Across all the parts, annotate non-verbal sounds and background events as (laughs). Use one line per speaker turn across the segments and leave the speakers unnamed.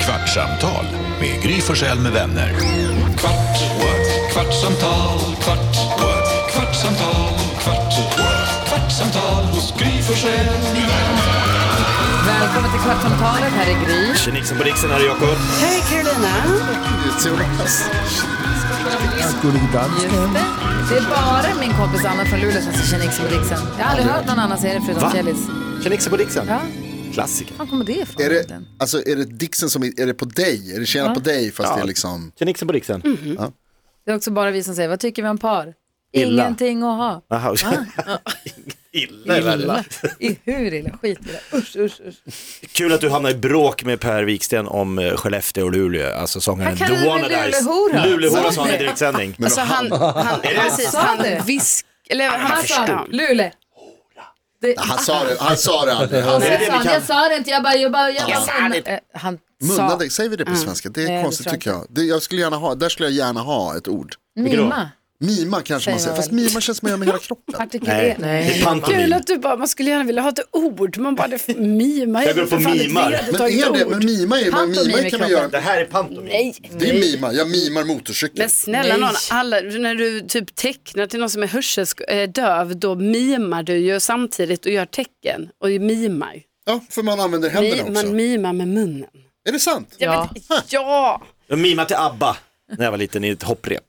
Kvartsamtal med Gry Forssell med vänner.
Kvart, what? kvartsamtal, kvart, what? kvartsamtal, kvart, what? kvartsamtal hos Gry Forssell med vänner.
Välkommen till Kvartsamtalet, här är Gry.
Tjenixen på riksen, här är Jakob.
Hej Carolina!
Det är bara min kompis Anna från Luleå som känner Nixon på Dixon. Jag har aldrig hört någon annan säga det förutom
Va?
Kjellis.
Tjenixen på Dixon.
Ja,
Klassiker.
var kommer det ifrån?
Är, det,
egentligen?
alltså, är det Dixon som är, är det på dig? Är det tjena på dig fast det är liksom,
Tjenixen på riksen.
Mm.
det är också bara vi som säger, vad tycker vi om par?
Illa.
Ingenting att ha.
Jaha. (laughs) Illa i världen.
I hur illa? Skit i det. Usch, usch, usch.
Kul att du hamnar i bråk med Per Wiksten om eh, Skellefteå och Luleå, alltså sångaren
Han kallade mig Luleåhora.
Luleåhora
Sa
sa han i
det?
direktsändning.
Alltså han, han, precis,
Sa
han
du?
visk... Eller han
Han
Alltså,
sa,
förstod.
Lule. Det,
han sa det, han sa det aldrig. Han
jag,
det vi
sa,
kan?
jag sa det inte, jag bara... Jag, bara, jag, bara, Eh, Han sa
munnade, säger vi det på
Mm.
svenska? Det är
Nej, det
konstigt
tror jag
tycker jag. Det, jag skulle gärna ha, där skulle jag gärna ha ett ord.
då?
mima,
Mima kanske
Säger
man säger,
jag
fast
väl.
mima känns som man gör med hela kroppen.
artikel
Nej,
E.
det är pantomim.
Kul att du bara, man skulle gärna vilja ha ett ord. Man bara, det mimar
Jag går på
För fan, det är
mimar.
ett
Men
tagit
är det,
ord.
men mima är, men
Pantomim
mima
i
kan
kroppen.
man göra,
Det här är pantomim.
Nej.
det är mima, jag mimar motorcykel.
Men snälla
Nej.
någon, alla, när du typ tecknar till någon som är hörselsk- eh, döv då mimar du ju samtidigt och gör tecken och ju mimar.
Ja, för man använder
Mi,
händerna
man
också.
mimar med munnen.
Är det sant?
Ja.
Ja!
Jag mimade till ABBA när jag var liten i ett hopprep.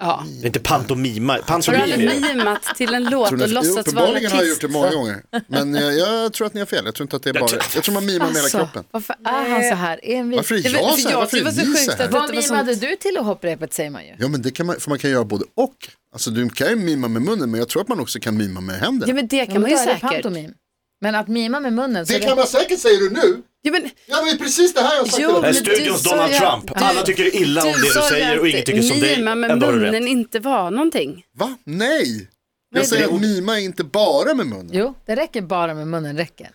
ja.
Det är inte pantomima,
Har du
pantomim. är
aldrig
det.
mimat till en låt
Tror
och
ni, jo,
låtsats vara en
uppenbarligen har jag gjort
artist?
det många gånger. Men jag, jag tror att ni har fel, jag tror inte att det är bara,
tror-
jag tror man mimar med hela
Alltså,
kroppen.
varför är han så här?
Envis.
Varför är
Det var-
jag
för
så här?
jag
Varför
tycker
är
det var så
ni
sjukt
så här?
att-
Vad
Det var
mimade
sånt.
du till i hopprepet säger man ju.
Ja men det kan man, för man kan göra både och. Alltså du kan ju mima med munnen men jag tror att man också kan mima med händerna.
Ja men det kan
Ja,
man
men
ju
då är det
säkert.
pantomim. Men att mima med munnen. Så
det kan man säkert säger du nu.
Ja, men,
Ja men det är precis det här jag har sagt.
Jo,
hela
Det här är
men
tiden.
du
studions
sa
Donald
ju att-
Trump. Alla tycker illa om det
sa
du
ju
säger
att
och ingen tycker som dig.
Mima med
Ändå har du rätt.
munnen inte var någonting.
Va? Nej.
Nej,
Jag säger
det-
att mima är inte bara med munnen.
Jo, det räcker bara med munnen räcker.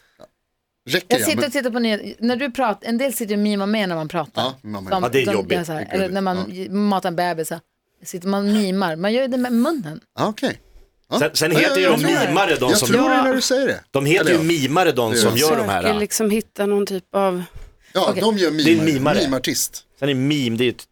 Räcker
Jag
jag?
sitter
Men,
och tittar på nyheter. När du pratar, en del sitter och mimar med när man pratar.
Ja, mimar med.
Ja, det är jobbigt.
gör så här.
Det är
eller när man matar en bebis. Så här, sitter man och mimar. Man gör ju det med munnen.
ah, okej.
Sen, sen
Ja,
heter ju
jag
de
tror det.
mimare de
Jag
som,
tror det när du säger det.
de heter ju
Eller ja.
mimare de
Det
som
gör
gör de
Försöker
här.
liksom hitta någon typ av...
Ja, de gör mimar.
Det är en mimare.
Mimartist.
Sen är meme, det är ju ett,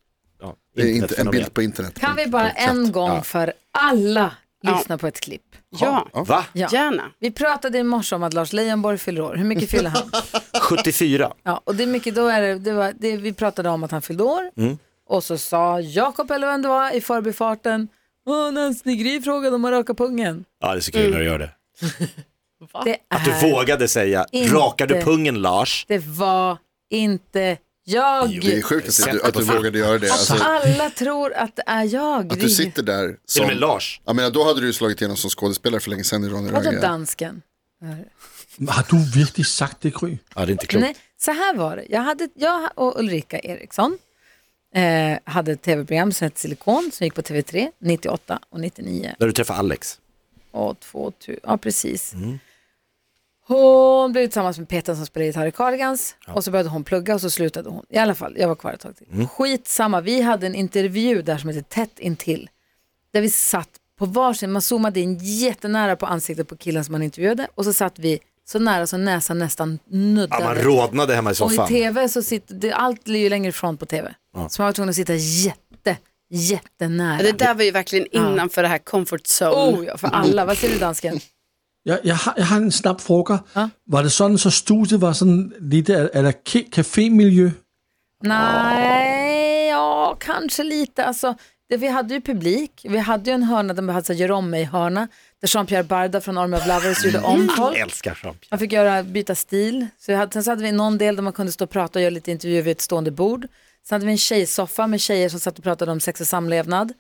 ja,
Det är inte en
internetfenomen.
bild på internet.
Kan vi bara en gång för alla lyssna på ett klipp?
Ja,
Va?
Ja.
gärna.
Vi pratade i morse om att Lars Leijonborg fyller år. Hur mycket fyller han? (laughs)
74.
Ja, och det är mycket, då är det, det var, det, vi pratade om att han fyllde år
Mm.
och så sa Jakob eller vem det var i förbifarten, Åh, när Gry frågade om att raka pungen.
Ja, det är så kul när du gör det.
Det,
Att du
är,
vågade säga,
Inte.
rakar du pungen Lars?
det var inte jag.
Det är sjukt att, du, att du vågade göra det. Alltså,
Alla tror att det är jag.
att du sitter där
Till och
som...
med Lars.
Jag menar, då hade du ju slagit igenom som skådespelare för länge sedan i Ronny
Vadå
Rönnegren.
dansken?
Har du virkelig sagt det, Gry?
Ja, det är inte klokt.
Nej, så här var det. Jag, hade, jag och Ulrika Eriksson eh, hade ett tv-program som hette Silikon som gick på TV3 98 och 99.
När du träffar Alex.
och 2000, ja precis.
Mm.
Hon blev tillsammans med Peter som spelade gitarr i Cardigans och så började hon plugga och så slutade hon. I alla fall, jag var kvar ett tag till.
Mm.
Skitsamma, vi hade en intervju där som hette Tätt intill. Där vi satt på varsin, man zoomade in jättenära på ansiktet på killen som man intervjuade och så satt vi så nära så näsan nästan
Ja,
nuddade.
man rodnade hemma i
Och i
soffan.
tv så sitter, det, allt ligger ju längre ifrån på tv. Så man var tvungen att sitta jätte, jättenära.
Det där var ju verkligen innanför det här comfort zone.
Oh, ja, för alla. Vad säger du dansken?
Jeg, jeg, har, jeg har en snap fråga. Var det sådan, så studiet var sådan lidt af, af der ca- cafémiljø?
Nej, ja, kanske lite. Alltså, det, vi hade ju publik. Vi hade ju en hörna där man hade så här, gör om mig-hörna. Där Jean-Pierre Barda från Army of Lovers gjorde om folk.
Älskar sånt.
Man fick göra, byta stil. Så jag hade, sen så hade vi någon del där man kunde stå och prata och göra lite intervjuer vid ett stående bord. Sen hade vi en tjejsoffa med tjejer som satt och pratade om sex och samlevnad.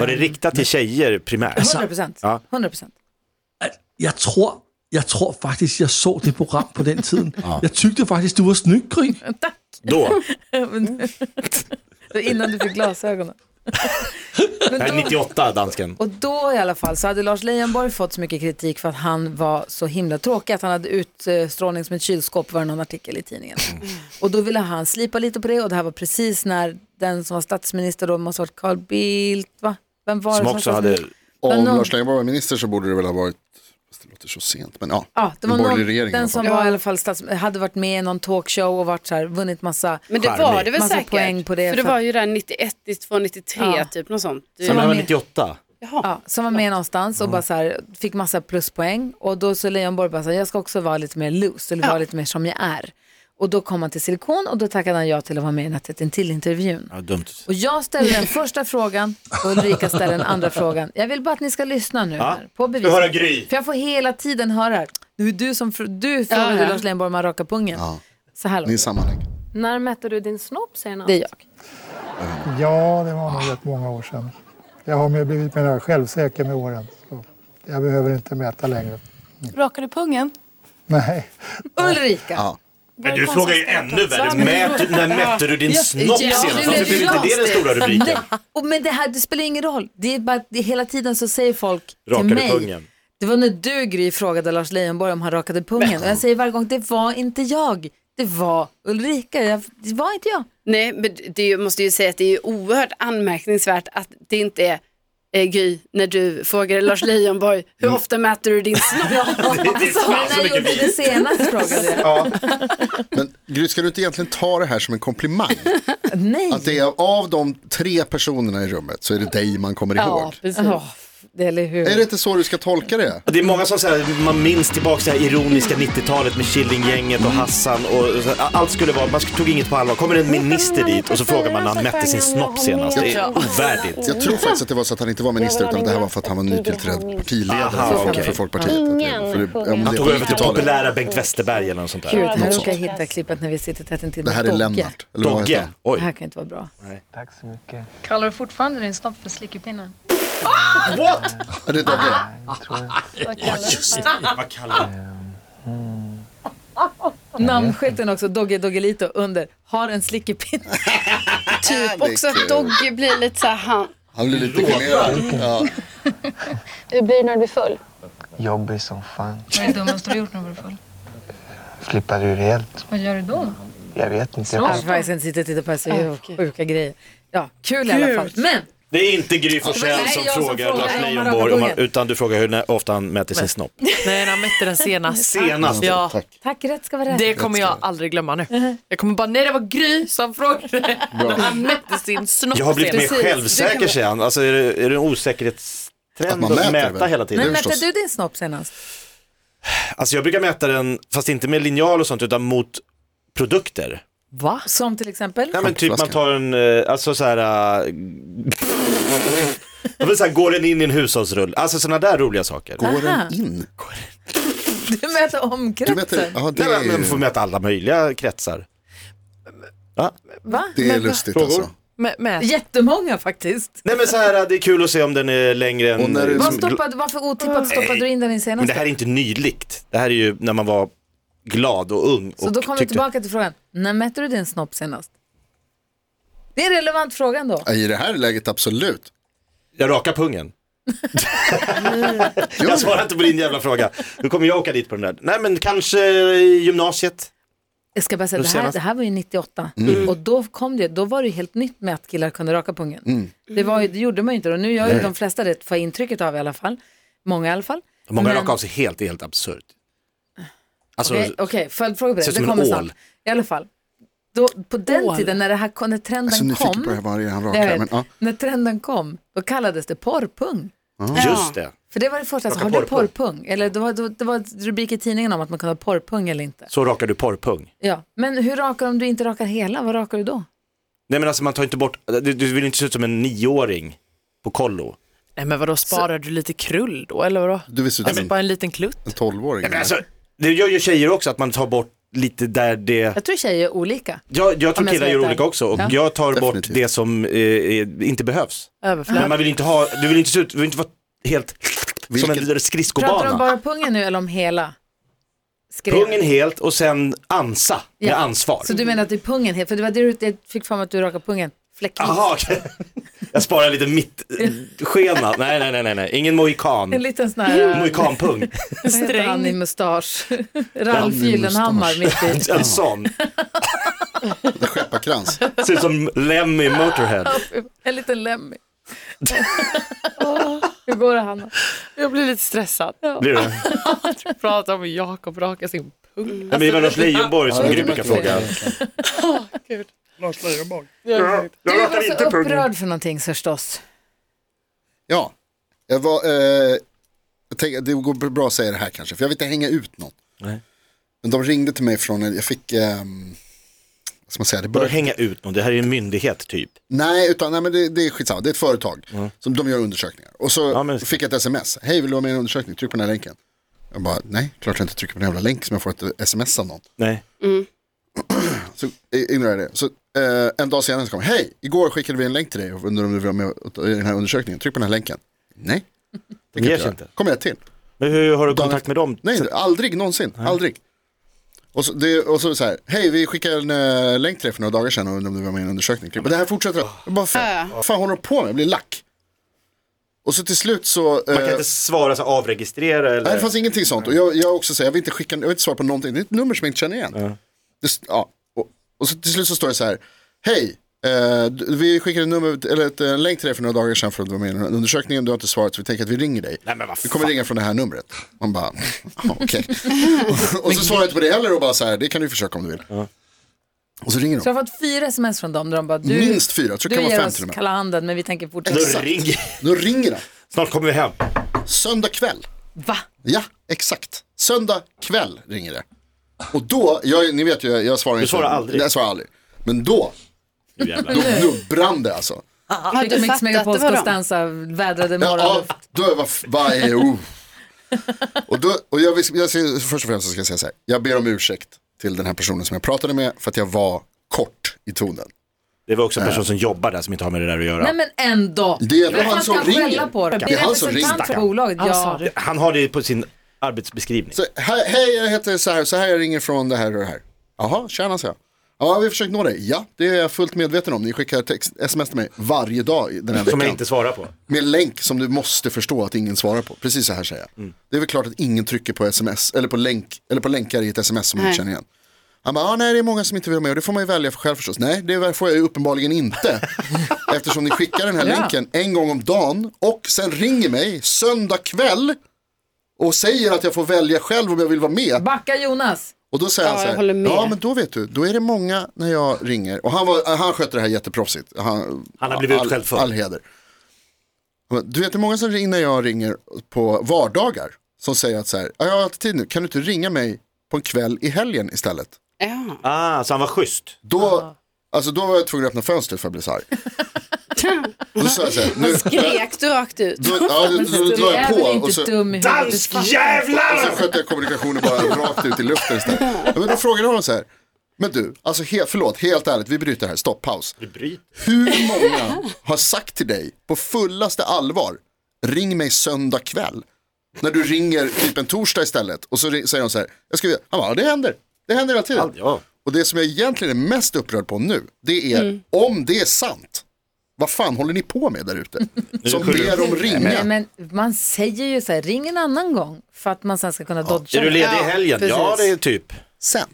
Var det riktat till tjejer primärt?
100 procent.
Ja.
100 procent.
At Jeg tror, jeg tror faktisk, jeg så det program på den tiden. Jeg tykte faktisk, du var snyk, Gry.
Då?
(laughs) Innan du fick glasögonen. Men
Nej,
då-
98, dansken.
Och då i alla fall så hade Lars Leijonborg fått så mycket kritik för att han var så himla tråkig, att han hade utstrålning som ett kylskåp var det någon artikel i tidningen.
Mm.
Och då ville han slipa lite på det och det här var precis när den som var statsminister då måste ha varit Carl Bildt, va? Vem var det
Som
var
också hade...
statsminister?
Om
Men någon-
Lars Leijonborg var minister så borde det väl ha varit Det låter så sent, men ja.
Ja, det var
en borgerlig
någon,
regering i
den
alla fall.
som var i alla fall stats, hade varit med i någon talkshow och varit så här, vunnit massa.
Men det
Charmig.
var det väl
Massa
säkert.
poäng på det
för det
för att-
var ju där 91, 92, 93
Ja.
typ något sånt. Du,
Som
Men
var
han var
med.
98.
Ja, som var med någonstans och bara så här, fick massa pluspoäng. Och då så Leijonborg bara så här, jag ska också vara lite mer loose, eller vara lite mer som jag är. Och då kom han till Silikon och då tackade han ja till att vara med i den här till intervjun
Ja, dumt.
Och jag ställer den första frågan och Ulrika ställer den andra frågan. Jag vill bara att ni ska lyssna nu här, på bevis.
höra Gry.
För jag får hela tiden höra här. Det är du som fr- du frågade
Ja, ja.
Lars Leijonborg om han rakade pungen. Så här
Ni är
långt.
sammanhang.
När mätte du din snopp senast?
Det är jag.
Ja, det var nog rätt många år sedan. Jag har mer blivit mer självsäker med åren. Så jag behöver inte mäta längre.
Rakar du pungen?
Nej.
Ulrika!
Men du frågar ju ännu värre. Mät, när mätte du din snopp
Ja,
senast?
det
Varför blev
blev
inte det den stora rubriken?
Nej, och men det här det spelar ingen roll. Det är bara, att det, hela tiden så säger folk
Rakade
till mig.
pungen.
Det var när du Gry frågade Lars Leijonborg om han rakade pungen. Och jag säger varje gång, det var inte jag. Det var Ulrika. Jag, det var inte
(laughs)
jag.
Nej, men det är ju- måste ju säga att det är ju oerhört anmärkningsvärt att det inte är eh, Gry, när du frågar Lars Leijonborg, hur
Mm.
ofta mäter du
(laughs)
din snopp?
(laughs) Alltså, när jag gjorde det senast
(laughs)
frågade jag.
Men Gry, ska du inte egentligen ta det här som en komplimang?
Nej.
Att det är av de tre personerna i rummet så är det dig man kommer ihåg.
precis.
Åh, det eller hur?
Är det inte så du ska tolka det?
Det är många som säger man minns tillbaka det här ironiska 90-talet med Killinggänget och Hassan och så här, allt skulle vara, man tog inget på allvar. Kommer en minister dit och så frågar man när han mätte sin snopp senast. Det är ovärdigt.
Jag tror faktiskt att det var så att han inte var minister utan det här var för att han var nytillträdd partiledare
Aha,
för,
okej.
för Folkpartiet. Ingen för det, ja, men det,
Han
är
tog
på
över till
90-talet.
populära Bengt Westerberg eller något sånt
Gud,
där.
här råkar jag
sånt.
hitta klippet när vi sitter tätt intill
Det här är
Dogge.
Lennart. Eller vad heter
Dogge,
han?
Det här
oj.
kan inte vara bra.
Kallar du fortfarande din snopp för slickepinne?
What?
Ja, det är Dogge.
Vad kallar du?
Namnskylten också, Dogge Doggelito under, har en slickepinne.
Typ också
kul.
att Dogge blir lite så här, han,
Han blir lite generad. Ja.
Hur blir du när du blir full?
Jobbig som fan.
Vad är det dummaste du gjort när du blir full?
Flippade ur rejält.
Vad gör du då?
Jag vet inte.
Alltså, Jag ska faktiskt inte sitta och titta på det, så jag gör sjuka grejer. Ja, kul i alla fall. Men
Det är inte Gry Forssell
Nej,
som
jag som
frågar
frågar
Lars
om han
Leijonborg,
rakar
om han-
pungen.
utan du frågar hur när- ofta han mäter sin snopp.
Nej, när han mätte den senast.
Senast.
Ja,
Tack.
tack, rätt ska vara rätt.
det kommer jag aldrig glömma nu. Jag kommer bara, nej det var Gry som frågade när han mätte sin snopp
Jag har blivit mer
senast.
självsäker säger han. Alltså är det, är det en osäkerhetstrend
man
att,
mäter
mäta
väl?
hela tiden?
Men
det är
mätte
förstås.
du din snopp senast?
Alltså jag brukar mäta den, fast inte med linjal och sånt, utan mot produkter.
Va?
Som till exempel?
Ja men typ man
Flaskan.
tar en, eh, (laughs) alltså så här. äh, Jag vill säga, går den in i en hushållsrull? Alltså sådana där roliga saker.
Går
Aha.
den in?
Du mäter
Du
omkretsen.
mäter, ja, det,
Nej, men man får
är,
mäta alla möjliga kretsar.
Va?
det är
Men-
lustigt
Frågor?
alltså.
Med, med.
Jättemånga faktiskt.
Nej men så här, äh, det är kul att se om den är längre än... liksom
Och när det är
Vad
som-
stoppade, varför otippat stoppade du in den i
Men
senaste?
det här är inte nyligt. Det här är ju när man var glad och ung.
Så
och
då kommer vi
tyckte-
tillbaka till frågan, när mätte du din snopp senast? Det är en relevant fråga ändå.
Ja, I det här läget absolut.
Jag
(laughs)
rakar pungen.
Jo,
Jag svarar inte på din jävla fråga. Nu kommer jag åka dit på den där. Nej men kanske i gymnasiet.
Jag ska bara säga,
Nu
det här,
senast- Mm.
det här var ju 98 och då kom det, då var det ju helt nytt med att killar kunde raka pungen.
Mm.
Det, var ju, det gjorde man ju inte då, nu gör ju de flesta det, får jag intrycket av i alla fall. Många i alla fall.
Många
Men-
rakar av sig helt, det är helt absurt. Alltså,
Okej, okej, följdfråga på
ser
det,
ut
det
som en
kommer
ål.
snart. I alla fall, då, på den tiden när, det här, kom- när trenden
Jag
Alltså,
är så nyfiken
kom,
på det här varje han
jag vet,
rakar. Men, ja.
när trenden kom, då kallades det porrpung.
just det.
För det var det första, alltså, har
Raka
du
porrpung.
porrpung? Eller det var, det var- det var rubrik i tidningen om att man kunde ha porrpung eller inte.
Så rakar du porrpung.
Ja, men hur rakar om du inte rakar hela? Vad rakar du då?
Nej men alltså man tar inte bort, du, du vill inte se ut som en nioåring på kollo.
Nej men vadå, sparar du lite krull då eller vadå?
Du visste ju
Alltså
en
bara en liten klutt?
tolvåring.
Nej, men alltså, det gör ju tjejer också att man tar bort lite där det,
Jag tror tjejer är olika.
jag, jag tror
jag
killar
ska
gör
veta.
olika också och
Ja.
jag tar bort
Definitivt.
det som eh, är- inte behövs. Men
Överflöd?
man vill inte ha, du vill inte se ut, du vill inte vara helt som en
Vilket-
Pratar du om
skridskobana.
bara pungen nu eller om hela? Skrev.
Pungen helt och sen ansa med
Ja.
ansvar.
Så du menar att det är pungen helt? För det var det du jag fick fram att du rakar pungen fläckvis.
Jaha, okej. jag sparar lite mitt eh, skena. Nej, nej, nej, nej, nej. ingen mohikan.
En liten sån
Mm.
här,
Mohikanpung.
vad heter han i mustasch? Ralf Gyllenhammar mitt i.
En sån.
En
(laughs)
skepparkrans.
Ser ut som Lemmy Motorhead.
En liten Lemmy. Hur går det Hanna?
Jag blir lite stressad.
Blir du?
Prata om Jakob raka sin pung.
Ja, men det var Lars Leijonborg som
Ja, det
Gry
är
brukar
bättre.
fråga.
Lars Leijonborg.
Du var så upprörd för någonting förstås.
Ja, jag var, eh, jag tänkte, det går bra att säga det här kanske, för jag vill inte hänga ut någon.
Nej.
Men de ringde till mig från, en- jag fick, ehm, vad ska man säga, det
Bara
började,
hänga ut någon, det här är en myndighet typ.
nej, utan, nej men det, det är skitsamma, det är ett företag som de gör undersökningar. Och så fick jag ett sms, hej vill du vara med i en undersökning, tryck på den här länken. Jag bara, nej, klart jag inte trycker på den jävla länk som jag får ett sms av någon.
Nej.
Så i- ignorerade jag det. Så, eh, en dag senare så kom hej, igår skickade vi en länk till dig och undrar om du vill vara med i den här undersökningen, tryck på den här länken. Nej, (laughs) det
ger sig
göra.
inte.
kommer jag till.
Men hur har du kontakt med dem?
Nej, aldrig någonsin. Aldrig. Och så, det, och så, så här, hej vi skickade en eh, länk till dig för några dagar sedan och undrade om du var med i en undersökning. Men det här fortsätter. Jag bara, fan, vad fan håller de på med? Jag blir lack. Och så till slut så...
Man kan
eh,
inte svara så här, avregistrera eller?
Nej, det fanns ingenting sånt. Och jag, jag också säger, jag vill inte skicka, jag vill inte svara på någonting. Det är ett nummer som jag inte känner igen. Det, st- ja. och, och så till slut så står det så här, hej, eh, du- vi skickade ett nummer, eller ett, en länk till dig för några dagar sedan för att du var med i den här undersökningen. Du har inte svarat så vi tänker att vi ringer dig.
Nej, men vad
du kommer ringa från det här numret. Man bara, (laughs) ja, okej.
(laughs)
och, och så svarar jag inte på det heller och bara så här, det kan du försöka om du vill. Och så ringer
Så jag
de.
har fått fyra sms från dem där de bara, du,
Minst fyra, jag tror det
du
kan vara
ger
fem
oss
till och med. Alltså,
kalla handen men vi tänker fortsätta.
Exakt. Nu ringer han.
Snart kommer vi hem.
Söndag kväll.
Va?
Ja, exakt. Söndag kväll ringer det. Och då, jag, ni vet ju, jag, jag svarar
Du
inte.
svarar aldrig.
Jag svarar aldrig. Men då,
Nu
då,
jävlar.
då brann det alltså.
Har
du fattat
Mix
att det
Megapols
var dem?
Costanza vädrade
Ja,
morgonluft.
då var varje oh. Och, då, och jag, vill- jag, ska- först och främst så ska jag säga så här, jag ber om ursäkt till den här personen som jag pratade med för att jag var kort i tonen.
Det var också en person som jobbar där som inte har med det där att göra.
Nej men ändå.
Det är ändå
Vem
han
fan
som
kan skälla
ringer.
På det?
Det är han som ringer.
representant för bolaget. Ja.
Han har det på sin arbetsbeskrivning.
Så, här, hej, jag heter så här, så här, jag ringer från det här och det här. Jaha, tjena sa jag. Ja, vi försökt nå dig. Ja, det är jag fullt medveten om. Ni skickar text, sms till mig varje dag i den här
Som jag
veckan.
inte svarar på.
Med länk som du måste förstå att ingen svarar på. Precis så här säger jag. Det är väl klart att ingen trycker på sms, eller på, länk, eller på länkar i ett sms som man
Nej.
inte känner igen. Han bara, ah, nej det är många som inte vill vara med och det får man ju välja för själv förstås. Nej, det får jag ju uppenbarligen inte. Eftersom ni skickar den här
Ja.
länken en gång om dagen och sen ringer mig söndag kväll och säger att jag får välja själv om jag vill vara med.
Backa Jonas.
Och då säger
Ja,
han så
jag håller
här,
med.
ja men då vet du, då är det många när jag ringer. Och han, var, han skötte det här jätteproffsigt. Han,
Han har blivit
all-
utskälld förr.
All heder. Men Du vet hur många som ringer när jag ringer på vardagar som säger att så här, "Ja, jag har inte tid nu, kan du inte ringa mig på en kväll i helgen istället?
Ja.
Ah, så han var schysst.
Då, alltså, då var jag tvungen att öppna fönstret för att
(laughs)
bli så arg. Och då sa jag så här, nu,
Skrek du rakt ut?
då, ja, då, då, då la jag på och så, och
Alltså,
så skötte jag kommunikationen bara rakt ut i luften istället. Ja, Men då frågade jag honom så här, men du, alltså he, förlåt, helt ärligt, vi bryter här, stopp, paus.
Vi bryter.
Hur många har sagt till dig på fullaste allvar, ring mig söndag kväll. När du ringer typ en torsdag istället och så ri- säger de så här, jag ska, han bara, "Ja, det händer, det händer hela tiden.
Ja.
Och det som jag egentligen är mest upprörd på nu, det är
Mm.
om det är sant, vad fan håller ni på med där ute? Som
skyller
ber
du-
om ringa.
Nej, men man säger ju så här, ring en annan gång för att man sen ska kunna dodga.
Är du ledig i helgen? Ja, det är typ.
Sen,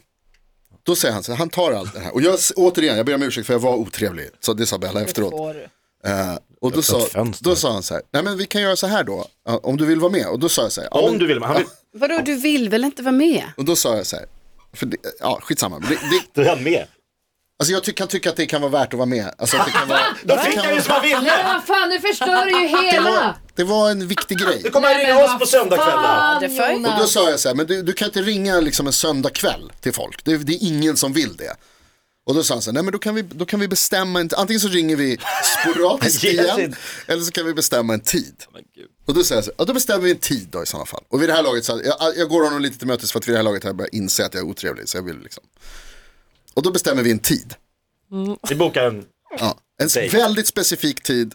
då säger han så här, han tar allt det här. Och jag, återigen, jag ber om ursäkt för jag var otrevlig, sa det sa Bella efteråt. Eh, och då sa, då sa han så här, nej men vi kan göra så här då, eh, om du vill vara med. Och då sa jag så här, "Ja,
Om
men-
du vill. men Han vill...
Vadå, du vill väl inte vara med?
Alltså,
Och då sa jag så här, för det, ja skitsamma. Det, det,
Då är han med.
alltså jag ty- kan tycka att det kan vara värt att vara med. Alltså att det kan vara,
(laughs) Då
det
fick
kan
han ju
vara-
som han ville.
Nej, vad fan, nu förstör
(laughs)
du ju
det,
hela.
var, det var en viktig grej.
Nu kommer han ringa oss på söndagkvällar.
Fan, Jonas.
Och då sa jag så här, men du, du kan inte ringa liksom en söndagkväll till folk. Det, det är ingen som vill det. Och då sa han så här, nej men då kan vi, då kan vi bestämma, en, antingen så ringer vi sporadiskt
Ge sig
igen,
inte.
eller så kan vi bestämma en tid. Och då säger jag så här, ja, då bestämmer vi en tid då i sådana fall. Och vid det här laget, så jag, jag går honom lite till mötes för att vid det här laget har jag börjat inse att jag är otrevlig. Så jag vill liksom. Och då bestämmer vi en tid.
Vi bokar en...
Ja. En s-
Date.
väldigt specifik tid,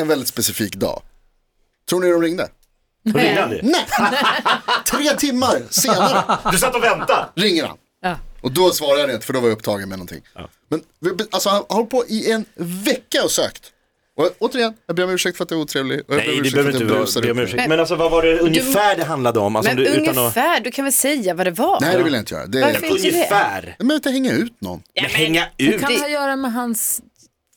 en väldigt specifik dag. Tror ni de ringde?
Då ringer han ju.
Nej! Tre timmar senare.
Du satt och väntade.
ringer han.
Ja.
Och då svarar jag inte för då var jag upptagen med någonting. Men vi- alltså, han har hållit på i en vecka och sökt. Och jag- återigen, jag ber om ursäkt för att jag är otrevlig. Och jag ber
Nej,
om
det
ursäkt för
behöver
att
inte
jag
vara-
brusar
be
upp
om
mig.
ursäkt. Men alltså vad var det ungefär det handlade om? Alltså, om
Men
du, utan att...
ungefär, du kan väl säga vad det var?
Nej, det vill jag inte göra. Det är...
Varför
Nej,
inte det?
Ungefär.
Men jag vill inte hänga ut någon.
Men hänga
Det
ut.
kan ha att göra med hans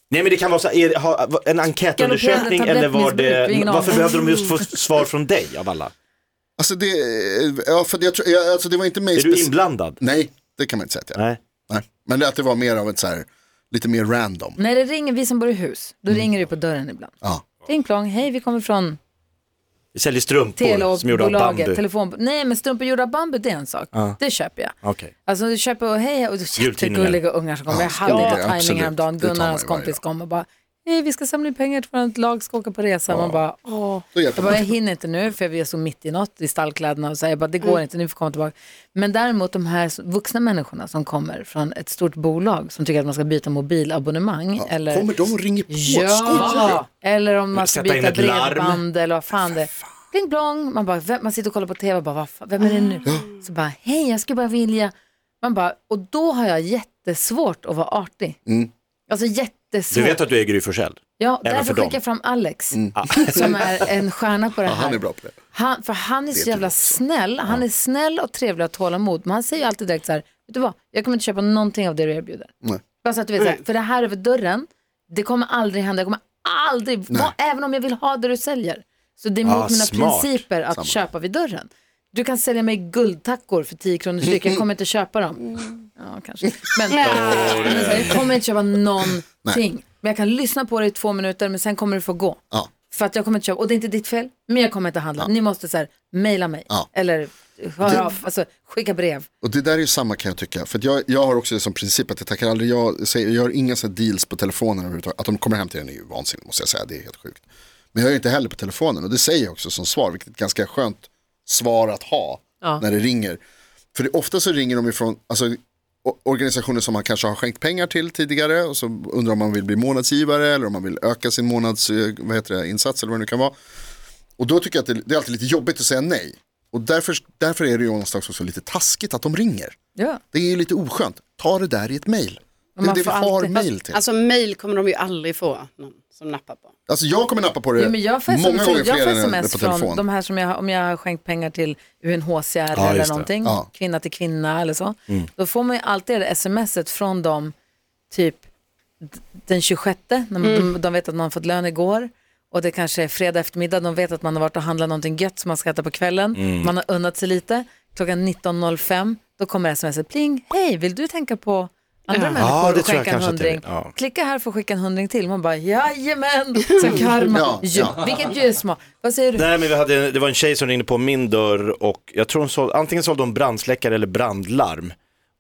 Nej men det kan vara så här, är, ha, en enkätundersökning
Galopperande
eller var det,
tablettmissbruk, ingen aning.
varför behövde de just få svar från dig av alla?
Alltså det, ja, för jag tror, jag, alltså det var inte mig
Är du inblandad?
Nej, det kan man inte säga att jag är.
Nej.
Men det att det var mer av ett så här, lite mer random.
När det ringer, vi som bor i hus,
Mm.
då ringer det på dörren ibland.
Ja.
Ding plong, hej vi kommer från
Vi säljer strumpor som gjorde av
telebolaget,
bambu.
telefon. Nej men strumpor gjorda av bambu det är en sak,
Ja.
det köper jag.
Okej.
Alltså du köper och hej och det är
Jultidningar.
jättegulliga ungar som kommer.
Ja,
jag hade
ja,
inte tajming
absolut.
häromdagen.
Det tar
Gunnar
man
och hans
ju varje
kompis kom och bara, hej vi ska samla in pengar till vårt lag ska åka på resa. Man bara, åh.
Då
Jag
hjälper
bara,
man.
jag hinner inte nu för jag är så mitt i något i stallkläderna och så här. Jag bara, det går
Mm.
inte, ni får komma tillbaka. Men däremot de här vuxna människorna som kommer från ett stort bolag som tycker att man ska byta mobilabonnemang. eller...
Kommer de och ringer på?
Ja,
Skojar
eller om man ska
Sätta in
byta
ett larm.
bredband eller vad fan det är. Pling plong, man, bara, vem, man sitter och kollar på tv och bara, vad fan, vem är det nu?
Ah.
Så bara, hej, jag skulle bara vilja. Man bara, och då har jag jättesvårt att vara artig.
Mm.
Alltså jättesvårt.
Du vet att du är Gry Forssell?
Ja,
Även
därför
för dem.
skickar jag fram Alex,
Mm. Ah.
som är en stjärna på det
Ja,
här.
han är bra på det.
Han, för han är
Det
så
tror
jävla snäll. Han är snäll och trevlig och har tålamod. Men han säger ju alltid direkt så här, vet du vad, jag kommer inte köpa någonting av det du erbjuder.
Nej.
Bara så att du vet, så här, för det här över dörren, det kommer aldrig hända. Jag kommer aldrig, vad, även om jag vill ha det du säljer. Så det är mot
Ah,
mina
smart.
principer att
Samma.
köpa vid dörren. Du kan sälja mig guldtackor för 10 kronor styck, jag kommer inte köpa dem. Ja, kanske. Men,
Ja.
men så här, jag kommer inte köpa någonting. Men jag kan lyssna på det i två minuter, men sen kommer du få gå.
Ja.
För att jag kommer inte köpa, och det är inte ditt fel, men jag kommer inte handla. Ni måste så här, mejla mig,
Ja.
eller
Det-
höra av, alltså skicka brev.
Och det där är ju samma kan jag tycka. För att jag, jag har också det som princip att jag tackar aldrig, jag, säger, jag gör inga så här deals på telefonen överhuvudtaget. Att de kommer hem till en är ju vansinnigt måste jag säga, det är helt sjukt. Men jag gör inte heller på telefonen och det säger jag också som svar, vilket är ett ganska skönt svar att ha
Ja.
när det ringer. För det, ofta så ringer de ifrån alltså, o- organisationer som man kanske har skänkt pengar till tidigare och så undrar om man vill bli månadsgivare eller om man vill öka sin månads, eh, vad heter det, insats eller vad det nu kan vara. Och då tycker jag att det, det är alltid lite jobbigt att säga nej. Och därför, därför är det ju någonstans också lite taskigt att de ringer.
Ja.
Det är ju lite oskönt. Ta det där i ett mejl. Det är det vi har mejl till.
Alltså mejl kommer de ju aldrig få någon som nappar på.
Alltså jag kommer nappa på det
Jo, men jag får
många
sms,
gånger
jag får
fler än
sms
på
från
telefon.
de här som jag, om jag har skänkt pengar till UNHCR
Ja,
eller
just det.
någonting,
Ja.
kvinna till kvinna eller så.
Mm.
Då får man ju alltid det där smset från dem typ d- den 26, när man,
Mm.
de, de vet att man fått lön igår och det kanske är fredag eftermiddag, de vet att man har varit och handlat någonting gött som man ska äta på kvällen,
Mm.
man har unnat sig lite, klockan 19.05 då kommer smset pling, hej vill du tänka på andra
Ja.
människor
Ja, det
och
tror jag
skänka en
kanske att det är.
hundring.
Ja.
Klicka här för att skicka en hundring till. Man bara jajamän, så
Mm.
karma.
Ja,
Ja,
ja.
Vilket ju är smart. Vad säger du?
Nej men vi hade, det var en tjej som ringde på min dörr och jag tror hon sålde, antingen sålde hon brandsläckare eller brandlarm.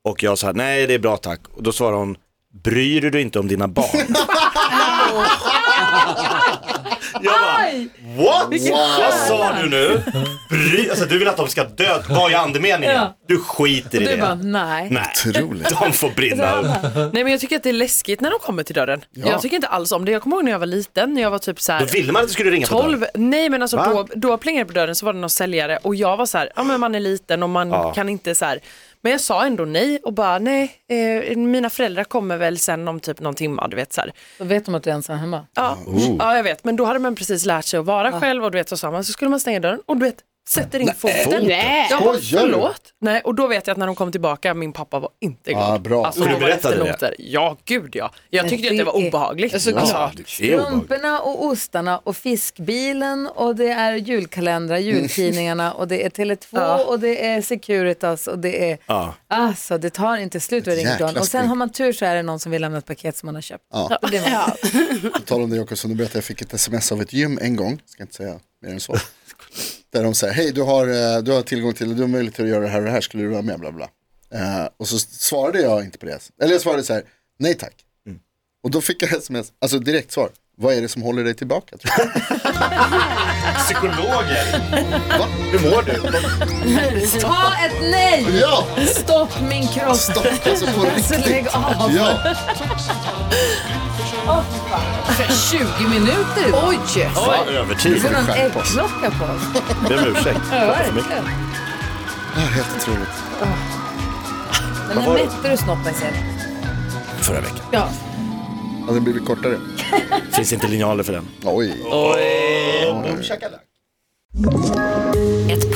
Och jag sa nej det är bra tack. Och då svarade hon, bryr du dig inte om dina
(laughs)
barn? jag
Aj!
What?
Vilken
Vad
stjärna.
sa du nu? Bry, alltså du vill att de ska dö, vad är andemeningen?
Ja.
Du skiter i
Och du
det.
bara, Alltså,
nej.
nej.
Otroligt.
De får brinna.
Nej men jag tycker att det är läskigt när de kommer till dörren.
Ja.
Jag tycker inte alls om det. Jag kommer ihåg när jag var liten, när jag var typ så här.
Då ville man att det skulle ringa på
12.
dörren.
Nej men alltså
Va?
då, då plingade det på dörren så var det någon säljare och jag var så här, ja men man är liten och man
Ja.
kan inte så här. Men jag sa ändå nej och bara nej, eh, mina föräldrar kommer väl sen om typ någon timme, du vet så här.
Då vet de att du är ensam hemma.
Ja,
Ah.
Oh.
ja jag vet, men då hade man precis lärt sig att vara
Ah.
själv och du vet så sa man, så skulle man stänga dörren och du vet sätter in
Nej,
foten.
foten. Nej.
Jag bara,
Skojar du?
förlåt. Nej, och då vet jag att när de kom tillbaka, min pappa var inte glad.
Ja, Ah, bra.
Alltså,
För
då
du
var
berättade det?
efternoter. Ja, gud ja. Jag
Men
tyckte att det var
är- Alltså,
obehagligt. Såklart.
Strumporna och ostarna och fiskbilen och det är julkalendrar,
Mm.
jultidningarna och det är Tele2 och det är Securitas och det är
Ja.
Alltså det tar inte slut vad det ringer
jäkla
dagen. Och sen
skrik.
har man tur så är det någon som vill lämna ett paket som man har köpt.
Ja.
Då blir man-
På tal om det Jakobsson, du berättade jag fick ett sms av ett gym en gång, ska inte säga mer
(laughs)
än så. Där de säger, hej du har, eh, du har tillgång till, du har möjlighet att göra det här och det här, skulle du vara med? Bla, bla. Eh, och så svarade jag inte på det. Eller jag svarade så här, nej tack. Och då fick jag sms, alltså direkt svar, vad är det som håller dig tillbaka? tror
(laughs)
du?
Psykologer. Hur mår du?
Ta ett nej!
Ja!
Stopp min kropp!
Stopp, alltså
(laughs)
på riktigt.
lägg av!
Ja.
Åh, fan. 20 minuter idag. Oj!
Fan, övertid.
Det får någon
Skärp oss.
äggklocka på oss.
Be om ursäkt.
Ja, verkligen.
Ah, helt otroligt.
Men
Vad
när
var det?
mätte du snoppen sen?
Förra veckan.
Ja.
Hade den blivit kortare?
Finns inte linjaler för den.
Oj.
Oj.
Oj.
Ett